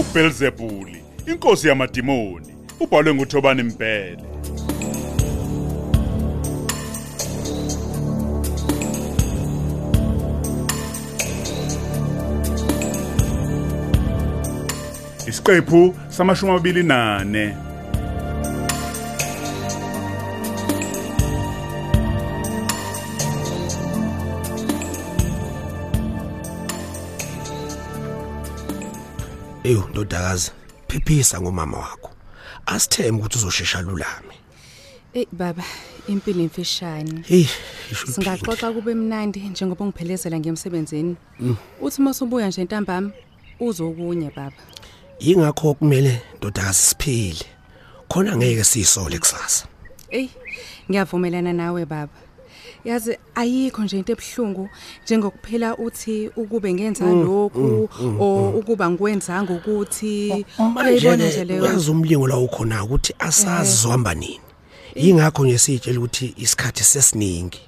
uBelzebuli, inkosi yamadimoni, ubhalwe nguThobani Mbhele. Isiqephu samashumi amabili nane. eyo ndodakazi phephisa ngomama wakho asithembe ukuthi uzoshesha lulame Ey baba, impilo imfishane. hey isho uphile. Singaxoxa kube mnandi njengoba ngiphelezela ngemsebenzini. Uthi masubuya nje ntambama uzokunye baba. yingakho kumele ndodakazi siphile khona ngeke siyisole kusasa Ey, ngiyavumelana nawe baba. Yazi ayikho nje into ebhlungu njengokuphela uthi ukube ngenza lokhu o ukuba ngikwenzanga ukuthi Uyayibona Oh, nje Oh, manje leyo. Eh. yazi umlingo la ukhona ukuthi asazi zohamba nini yingakho nje sitshela ukuthi isikhathi sesiningi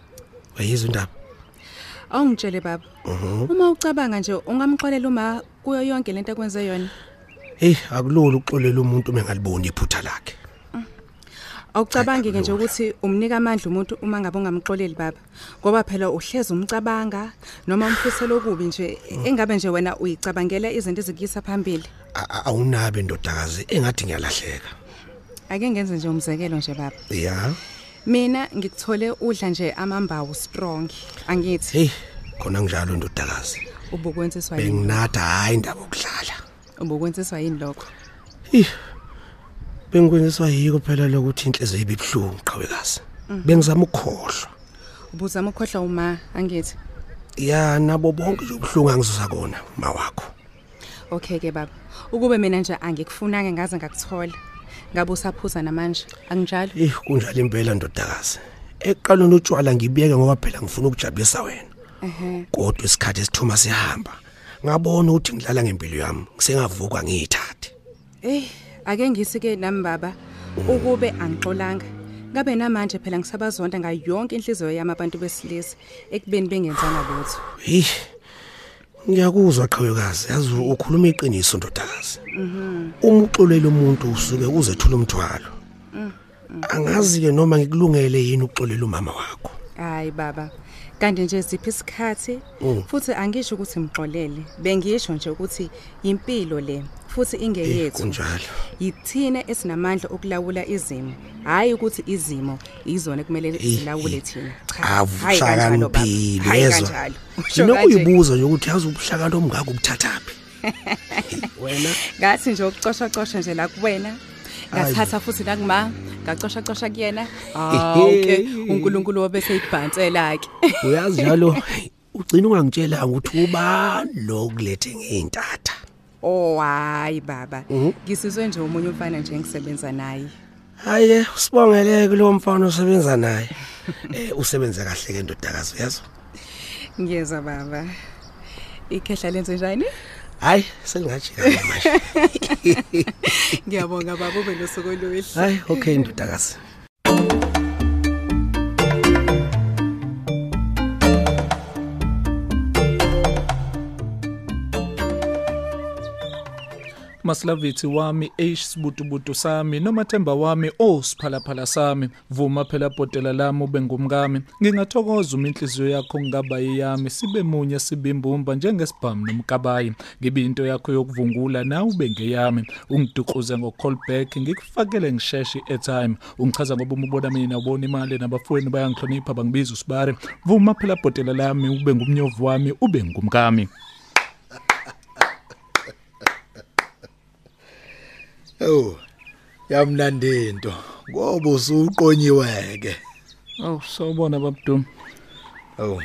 uyayizwa indaba Awungitshele baba. Uma ucabanga nje ungamxolela uma kuyo yonke lento akwenze yona. hey akulula ukuxolela umuntu mengaliboni iphutha lakhe Awucabangi ke nje ukuthi umnika amandla umuntu uma ngabe ungamxoleli baba ngoba phela uhleza umcabanga noma umfiselo okubi nje engabe nje wena uyicabangela izinto ezikuyisa phambili A- a- awunabe ndodakazi engathi ngiyalahleka ake ngenze nje umzekelo nje baba ya mina ngikuthole udla nje amambawu strong angithi hey khona njalo ndodakazi ubukwenziswa yini benginada hayi indaba okudlala ubukwenziswa yini lokho Ih. Bengikwenziwa yiko phela lokuthi inhliziyo ibibhlungu qhawekazi. Bengizama ukukhohlwa. ubuzama ukukhohlwa uma angithi Ya nabo bonke nje ubhlungu angizuza kona ma wakho. okay ke baba ukube mina nje angikufunanga ngaze ngakuthola ngabe usaphuza namanje anginjalo Eh kunjalo impela ndodakazi. Eqalweni utshwala ngibiyeke ngoba phela ngifuna ukujabulisa wena. ehe Kodwa isikhathi esithuma sihamba. Ngabona ukuthi ngidlala ngempilo yami, ngisengavuka ngiyithathe. Eh, ake ngisike nami baba ukube angixolanga. Ngabe namanje phela ngisabazonda ngayo yonke inhliziyo yami abantu besilisa ekubeni bengenzanga lutho. Hey. Ngiyakuzwa qhawekazi, yazi ukhuluma iqiniso ndodakazi. Mhm. Uma uxolela umuntu usuke uzethula umthwalo. Mm, Mhm. Angazi ke noma ngikulungele yini ukuxolela umama wakho. Hayi baba. Kanti nje siphi isikhathi Mm. futhi angisho ukuthi ngixolele. Bengisho nje ukuthi impilo le futhi Eh, ingeyethu. kunjalo. Yithina esinamandla okulawula izimo. Hayi ukuthi izimo izona kumele Eh, silawule eh. thina. hayi kanjalo baba. Avuhlakaniphile Hayi yezwa. kanjalo. Usho kanje. Nginokuyibuza nje ukuthi yazi ubuhlaka lomngaka ubuthathaphi. Wena ngathi nje ukucoshacosha nje la kuwena ngathatha futhi la kuma ngacoshacosha kuyena awuke uNkulunkulu wabese ibhansela-ke uyazi njalo ugcina ungangitshelanga ukuthi uba lo kulethe ngeintatha. oh hayi baba ngisizwe nje omunye umfana nje engisebenza naye Hayi usibongele kulo mfana osebenza naye. Eh usebenza kahle ke ndodakazi uyazwa. ngiyeza baba ikhehla lenze njani Hayi selingajikala manje. ngiyabonga baba ube nosuku oluhle Hayi okay ndodakazi. Maslavithi wami eSibutubutu sami nomathemba wami osiphalaphala sami vuma phela bhodela lami ubengumkami ngingathokoza uma inhliziyo yakho ngaba yami sibe munye sibimbumba njengesibhamu nomkabayi ngibe into yakho yokuvungula nawe ubengeyami ungiduquze ngo callback ngikufakele ngisheshe i-airtime ungichaza ngoba uma ubona mina ubona imali nabafweni bayangihlonipha bangibiza usibare vuma phela bhodela lami ube ngumnyovu wami ube ngumkami Oh. Yamnandi into. Ngoba usuqonyiwe ke. aw Oh, sawubona babdumi Oh.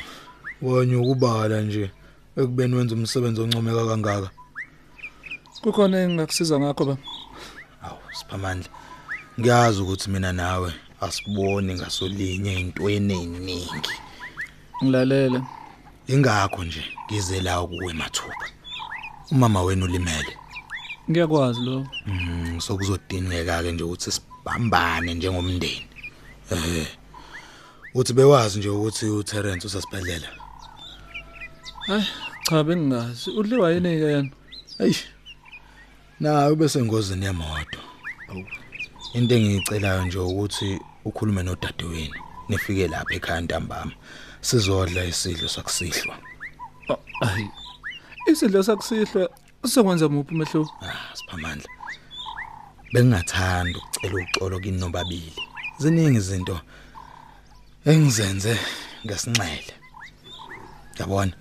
Wonye ukubala nje ekubeni wenza umsebenzi oncomeka kangaka. kukhona engingakusiza ngakho baba Aw, siphamandla. Ngiyazi ukuthi mina nawe asiboni ngasolinye intweni eziningi. Ngilalela. Ingakho nje ngize la kuwe mathuba. Umama wenu ulimele. Ngiyakwazi lo. Mm, sokuzodingeka ke nje ukuthi sibambane njengomndeni. Eh. Uthi bewazi nje ukuthi uTerence usasiphelela. Hayi, cha bengingazi. Udliwa yini ke yena? Hey. naye bese ngozini yemoto into engiyicelayo nje ukuthi ukhulume nodadewenu nifike lapha ekhaya ntambama sizodla isidlo sakusihlwa Ah, Ayi. Isidlo sakusihlwa sizokwenza muphi umehluko? ah siphamandla bengingathanda ukucela uxolo kini nobabili ziningi izinto engizenze ngesinxele yabona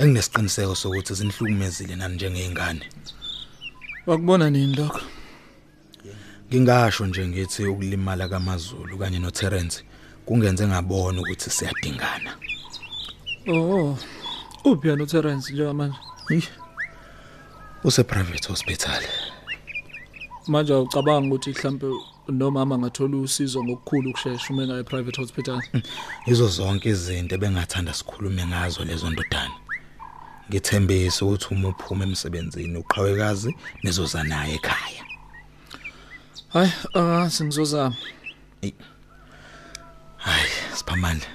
enginesiqiniseko sokuthi zinihlukumezile nani njengeyingane Wakubona nini lokho? ngingasho nje ngithi ukulimala kamazulu kanye noTerence kungenze ngabona ukuthi siyadingana Oh. Uphi yena uTerence njengamanje? Eish. use private hospital Manje awucabanga ukuthi mhlambe nomama angathola usizo ngokukhulu ukusheshsha uma engaye private hospital. yizo zonke izinto ebengathanda sikhulume ngazo lezo ndodana ngithembise ukuthi uma uphuma emsebenzini uqhawekazi nizoza naye ekhaya Hayi, ah singizozama. hayi siphamandla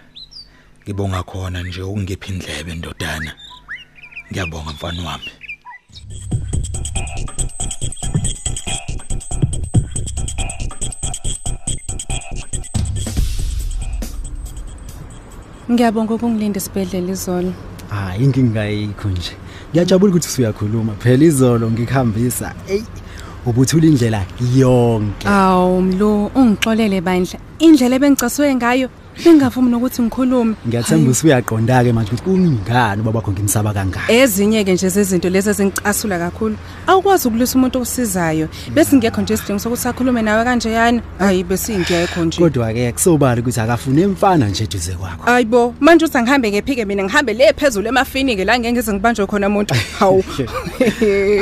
ngibonga khona nje ukungipha indlebe ndodana ngiyabonga mfana wami Ngiyabonga ukungilinda esibedlela izolo. hayi ingingayikho nje Ah, ngiyajabula ukuthi usuyakhuluma phela izolo ngikuhambisa eyi ubuthula indlela yonke Awu Mlo, ungixolele bandla. Indlela ebengicaswe ngayo bengavumi nokuthi ngikhulume. ngiyathemba usuyaqonda-ke manje ukuthi kungani ubabakho ngimsaba Eh. kangani Ezinye ke nje zezinto lezi ezingicasula kakhulu. Awukwazi ukulisa umuntu okusizayo. Bese ngekho nje isidingo sokuthi sakhulume nawe kanje yani. Hayi bese ngiyekho nje. kodwa-ke kusobala ukuthi akafune mfana nje eduze kwakho Ayibo, manje uthi angihambe ngephike mina ngihambe le phezulu emafini ke la ngeke ngize ngibanjwe khona umuntu. Hawu.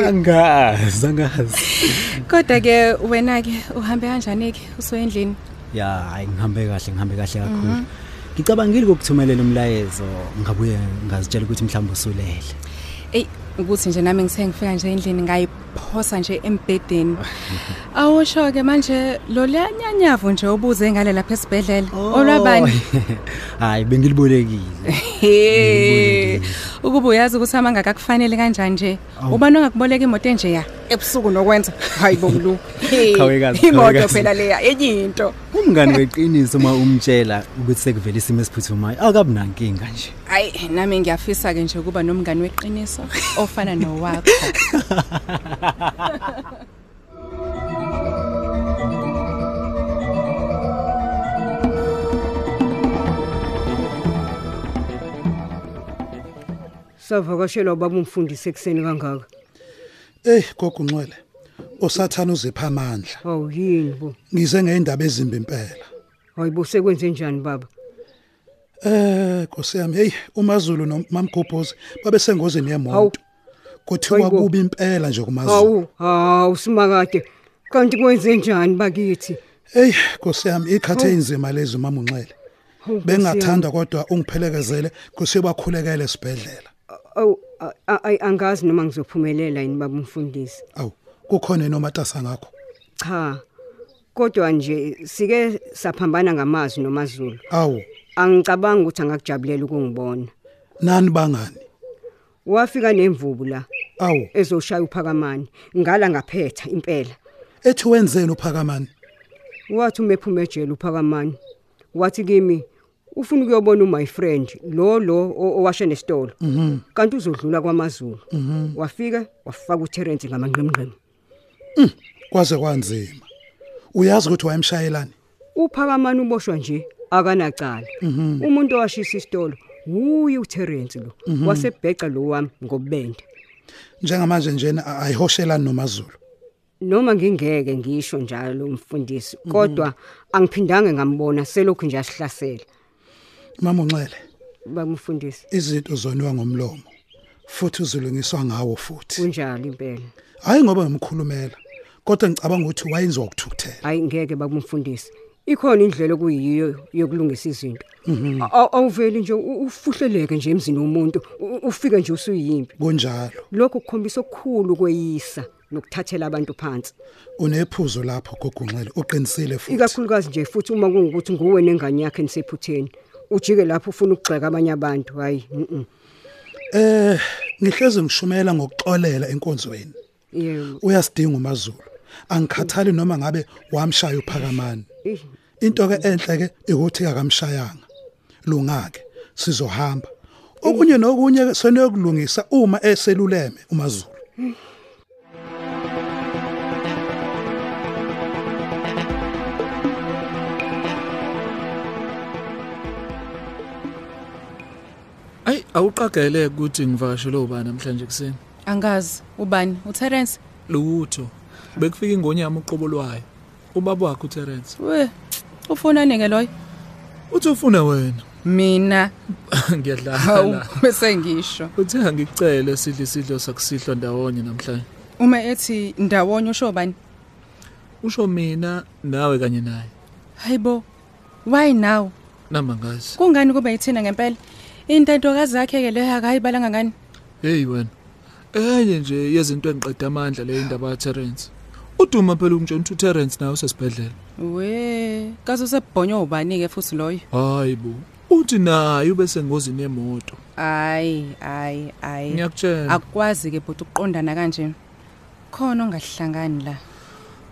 angazi angazi Kodwa ke wena ke uhambe kanjani ke usendlini? ya hayi ngihambe kahle ngihambe kahle kakhulu ngicabangile kokuthumelela umlayezo ngabuye ngazitshela ukuthi mhlawumbe usulele Ey, ukuthi nje nami ngisengifika nje endlini ngayiphosa nje embedeni. Awusho ke manje lo lanyanyavu nje obuze ngale lapha esibedlela. Oh. Olwabani? hayi bengilibolekile Hey. Ukuba uyazi ukuthi amanga akakufanele kanjani nje. Ubani ongakuboleka imoto enje ya? Ebusuku nokwenza. Hayi bomlu. Qhawekazi, Imoto qhawekazi. phela leya enyinto. umngane weqiniso uma umtshela ukuthi sekuvele isimo esiphuthumayo akabinankinga nje Hayi nami ngiyafisa ke nje ukuba nomngani weqiniso ofana nowakho. savakashelwa ubaba umfundisi ekuseni kangaka Ey gogo Nxele, usathana uzipha amandla. awu yini bo Ngize ngeindaba ezimbi impela. hayi bo sekwenze njani baba Eh Nkosi yami, hey uMazulu noMamgobhozi babesengozini Hawu. yemoto. Kuthiwa Hayi bo. kuba impela nje kuMazulu. hawu hawu simakade kanti kwenze njani bakithi Hey Nkosi yami, ikhathe inzima lezi uMama uNxele. Hawu, Nkosi Bengathanda kodwa ungiphelekezele kusiyo bakhulekele esibhedlela. yami. awu a- a- ayi, angazi noma ngizophumelela yini baba umfundisi Awu, kukhona nomatasa ngakho. cha kodwa nje sike saphambana ngamazwi nomazulu Awu, angicabangi ukuthi angakujabulela ukungibona nani bangani? wafika nemvubu la Awu, ezoshaya uphakamani ngala ngaphetha impela ethi wenzeni uphakamani? wathi uma ephuma ejele uphakamani wathi kimi ufuna ukuyobona my friend lo lo o- owashe nesitolo kanti uzodlula kwamazulu wafika wafaka uTerence ngamanqemqem Kwaze kwanzima. Uyazi ukuthi wayemshayelani? uphakamani uboshwa nje akanacala umuntu owashisa isitolo uyi uTerence lo wasebheca lo wami ngobende Njengamanje njena a- ayihoshelani noMazulu. noma ngingeke ngisho njalo umfundisi kodwa angiphindange ngambona selokhu nje asihlasela Mama Nxele, bamfundisi izinto zoniwa ngomlomo futhi uzilungiswa ngawo futhi. kunjalo impela Hayi ngoba ngimkhulumela, kodwa ngicabanga ukuthi wayenziwa ukuthukuthela. hayi ngeke bakumfundisi ikhona indlela okuyiyo yokulungisa izinto Aw- awuveli nje u- ufuhleleke nje emzini womuntu u- ufike nje usuyimpi Kunjalo, lokho kukhombisa okukhulu kweyisa nokuthathela abantu phansi unephuzo lapho gogunxele, uqinisile futhi. ikakhulukazi nje futhi uma kungukuthi nguwe nengane yakhe nisephutheni ujike lapho ufuna ukugxeka abanye abantu hayi mm, mm. Eh, ngihlezi ngishumela ngokuxolela enkonzweni. Yebo. uyasidinga umaZulu angikhathali noma ngabe wamshaya uphakamani into ke enhle ke ukuthi akamshayanga lungake sizohamba okunye nokunye ke senokulungisa uma eseluleme umaZulu ayi awuqagele ukuthi ngivakashele ubani namhlanje kuseni Angazi ubani? uTerence? lutho bekufika ingonyama uqobo lwayo ubaba wakhe uterence We. Ufuna nike loyo? uthi ufuna wena Mina. Hawu, ngiyadlala bese ngisho. uthe angikucele sidle isidlo sakusihlwa ndawonye namhlanje Uma ethi ndawonye usho bani? usho mina nawe kanye naye Hayibo. Why now? namba ngazi Kungani kube yithina ngempela? Intento kazakhe ke le akayibala ngani? heyi wena enye nje yezinto engiqeda amandla le indaba katerence uduma phela umtshona ukuthi uterence naye usesibhedlela We, kaso sebhonywa ubani ke futhi loyo? hhayi bo uthi naye ube sengozini yemoto Ayi, ayi, ayi. ngiyakutshela Akwazi ke bhuti uqondana kanje. Khona ongahlangani la.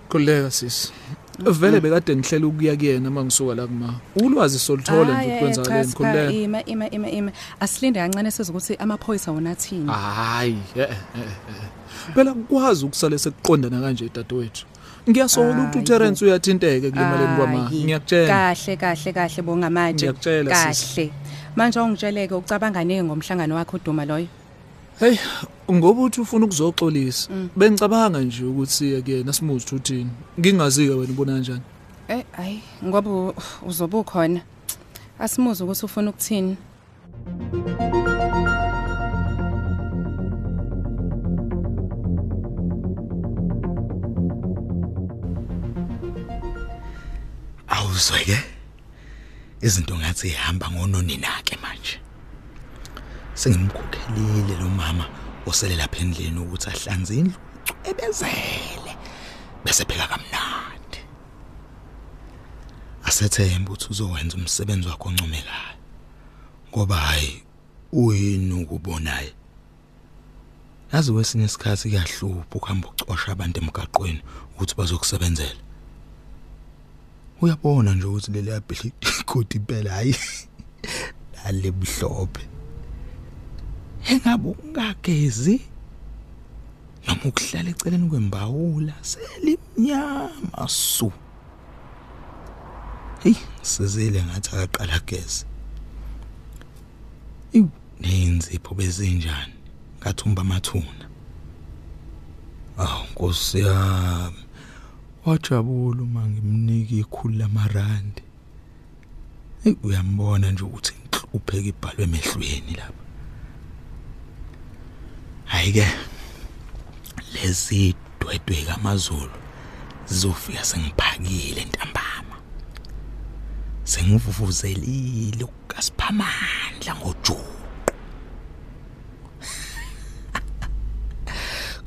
khululeka sisi vele bekade ngihlela ukuya kuyena uma ngisuka la kuma ulwazi soluthola Ayi, nje ayi, ukwenza cha, leni sipha, khululeka Ima, ima, ima, ima. Asilinde kancane sezokuthi amaphoyisa wona athini. Ah, hayi eh, eh, eh. phela ngikwazi ukusale sekuqondana kanje dadewethu ngiyasola ukuthi uterence uyathinteke kulimaleni kwama Hayi. ngiyakutshela kahle kahle kahle bongamanje Ngiyakutshela, kahle manje ungitsheleke ucabangane ngomhlangano wakhe uduma loyo heyi ngoba uthi ufuna ukuzoxolisa bengicabanga nje ukuthi ye kuyena simuzi ukuthi uthini ngingazi-ke wena ubona kanjani eh hayi ngoba u- uzobe ukhona asimuze ukuthi ufuna ukuthini Awuzweke? Izinto ngathi ihamba ngononi nake manje. Sengimkhokhelile lo mama osele lapha endlini ukuthi ahlanze indlu ebezele. Bese pheka kamnandi. Asethemba ukuthi uzowenza umsebenzi wakho oncomekayo. Ngoba hayi uyini ukubonayo. Yazi kwesinye isikhathi kuyahlupha ukuhamba ucosha abantu emgaqweni ukuthi bazokusebenzela. uyabona nje ukuthi leli yabhili igodi impela hayi lalebhlophe engabe ungagezi noma ukuhlala eceleni kwembawula selimnyama su heyi sizile ngathi akaqala gezi iwu neyinzipho bezinjani ngathumba amathuna awu nkosi yami wajabula uma ngimnika ikhulu lamarandi eyi uyambona nje ukuthi inhlupheko ibhalwe emehlweni lapha hhayi-ke lezi dwedwe kamazulu zizofika sengiphakile ntambama sengivuvuzelile ukukasiphamandla ngojuqu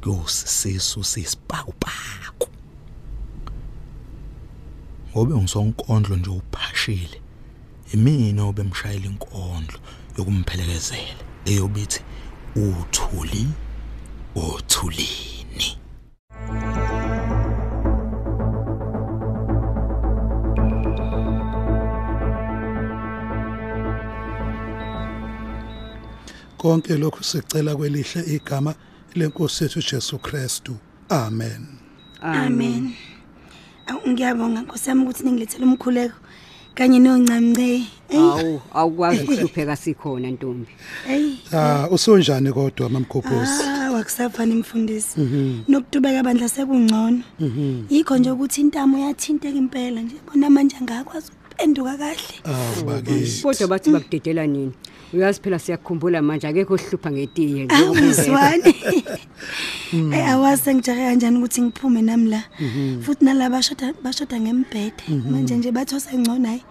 kuyosisisu siyisipakupaku ngobe ngisonkondlo nje uphashile imina obemshayela inkondlo yokumphelekezela eyobithi uthuli othulini konke lokhu sicela kwelihle igama lenkosi yethu Jesu Kristu amen Amen. Awu, Ngiyabonga nkosami ukuthi ningilethele umkhuleko kanye noncamce. Awu awukwazi ukuhlupheka sikhona ntombi. Hey, ah usonjani kodwa mamkhobhosi ah, wakusafana imfundisi. Nokutubeka bandla sekungcono. Yikho nje ukuthi intamo yathinteka impela nje. Bona manje angakwazi ukuphenduka kahle. awubakithi Kodwa bathi bakudedela nini? Uyazi phela siyakhumbula manje akekho ohlupha ngetiye nje. Awuzwani. Eh awase ngijahe kanjani ukuthi ngiphume nami la. Futhi nalaba bashoda bashoda ngembhede. Manje nje bathosa ngcono hayi.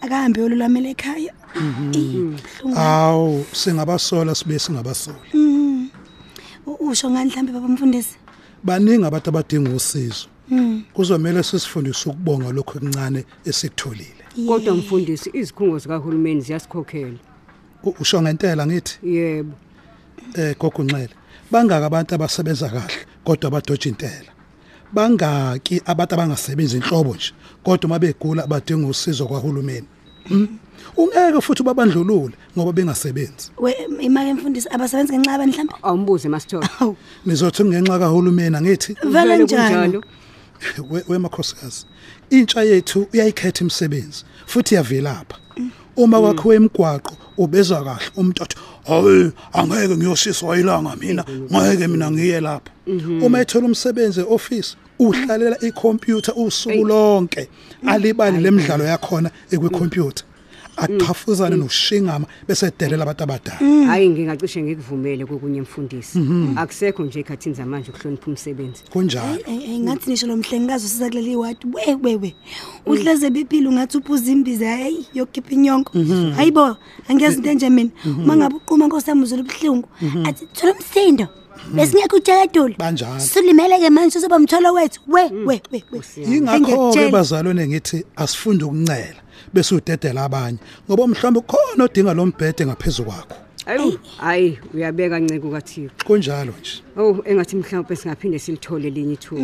Akahambe yolulwamela ekhaya. Mhm. awu singabasola sibe singabasola Usho ngani mhlambe baba mfundisi? baningi abantu abadinga usizo kuzomele sisifundise ukubonga lokho okuncane esikutholile Kodwa mfundisi izikhungo zikahulumeni ziyasikhokhela. U- usho ngentela ngithi Yebo. eh gogunxele bangaka abantu abasebenza kahle kodwa badoja intela bangaki abantu abangasebenzi inhlobo nje kodwa mabegula badinga usizo kwahulumeni Mm. ungeke futhi babandlulule ngoba bengasebenzi we imake mfundisi abasebenzi ngenxa yabani mhlawumbe awumbuze masithole nizothi kungenxa kahulumeni angithi Vele vele njalo We- wemakhosikazi intsha yethu uyayikhetha imisebenzi futhi iyavelapha uma kwakhiwe imigwaqo ubezwa kahle umuntu athi hayi angeke ngiyoshiswa ilanga mina ngeke mina ngiye lapha uma ethola umsebenzi e-ofisi uhlalela ikhompyutha usuku lonke alibali le midlalo yakhona ekwikhompyutha aqhafuzane nokushingama bese edelela abantu abadala hayi ngingacishe ngikuvumele kokunye mfundisi akusekho nje ekhathini zamanje ukuhlonipha umsebenzi kunjalo Eyi, eyi, ngathi nisho lo mhlengikazi usiza kuleli wadi wewewe uhleze Mm. ebiphile ungathi uphuza imbiza hayi yokukhipha inyonko Mhm. hayi bo angiyazi into enje mina uma ngabe uquma nkosamuzela ubuhlungu athi thola umsindo besingekho utshaladulu Mhm. Banjalo. Mm. sulimele-ke manje uzoba mtholo wethu we we we we yingakho-ke Engiyakutshela. bazalwane ngithi asifunde ukuncela bese udedela abanye ngoba mhlawumbe khona odinga lo mbhede ngaphezu kwakho ayu hayi uyabeka nceko kathixo kunjalo nje Oh engathi mhlawumbe singaphinde silithole linye ithuba.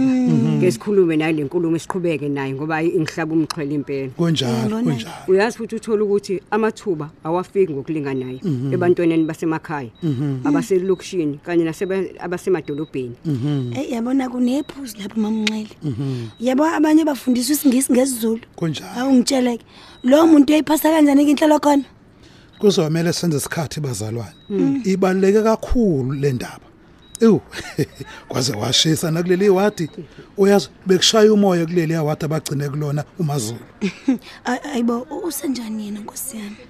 Ke sikhulume naye lenkulumo esiqhubeke naye ngoba ayi ingihlaba umxhwele impela. kunjalo Ngibona. kunjalo Uyazi futhi uthola ukuthi amathuba awafiki ngokulinganayo ebantwaneni basemakhaya, abaselokishini kanye nasebe- abasemadolobheni. Mm. eyi yabona kunephuzu lapho mamnxele yabo abanye bafundiswa isingisi ngesizulu Mhm. kunjalo awungitsheleke lowo muntu uyayiphasa kanjani-ke inhlalo khona kuzomele senze isikhathi bazalwane ibaluleke kakhulu le ndaba ewu kwaze washisa nakuleli wadi uyazi bekushaya umoya kuleli wadi abagcine kulona umazulu Ay- ayibo u- usenjani yena nkosi yami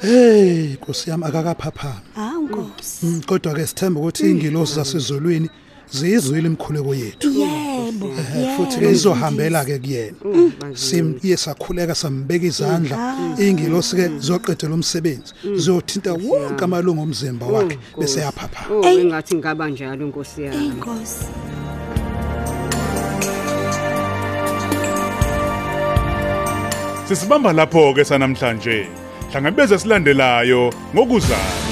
heyi nkosi yami akakaphaphami hawu nkosi Mm, kodwa-ke sithembe ukuthi iy'ngilosi zasezulwini ziyizwile imikhuleko yethu yebo futhi yebo. izohambela ke kuyena simye sakhuleka sambeka izandla ingilosi ke zoqedela umsebenzi ziyothinta wonke amalungu omzimba wakhe bese yaphapha Oh engathi ngaba njalo inkosi yami. inkosi Sisibamba lapho ke sanamhlanje. Hlangabeze silandelayo ngokuzayo.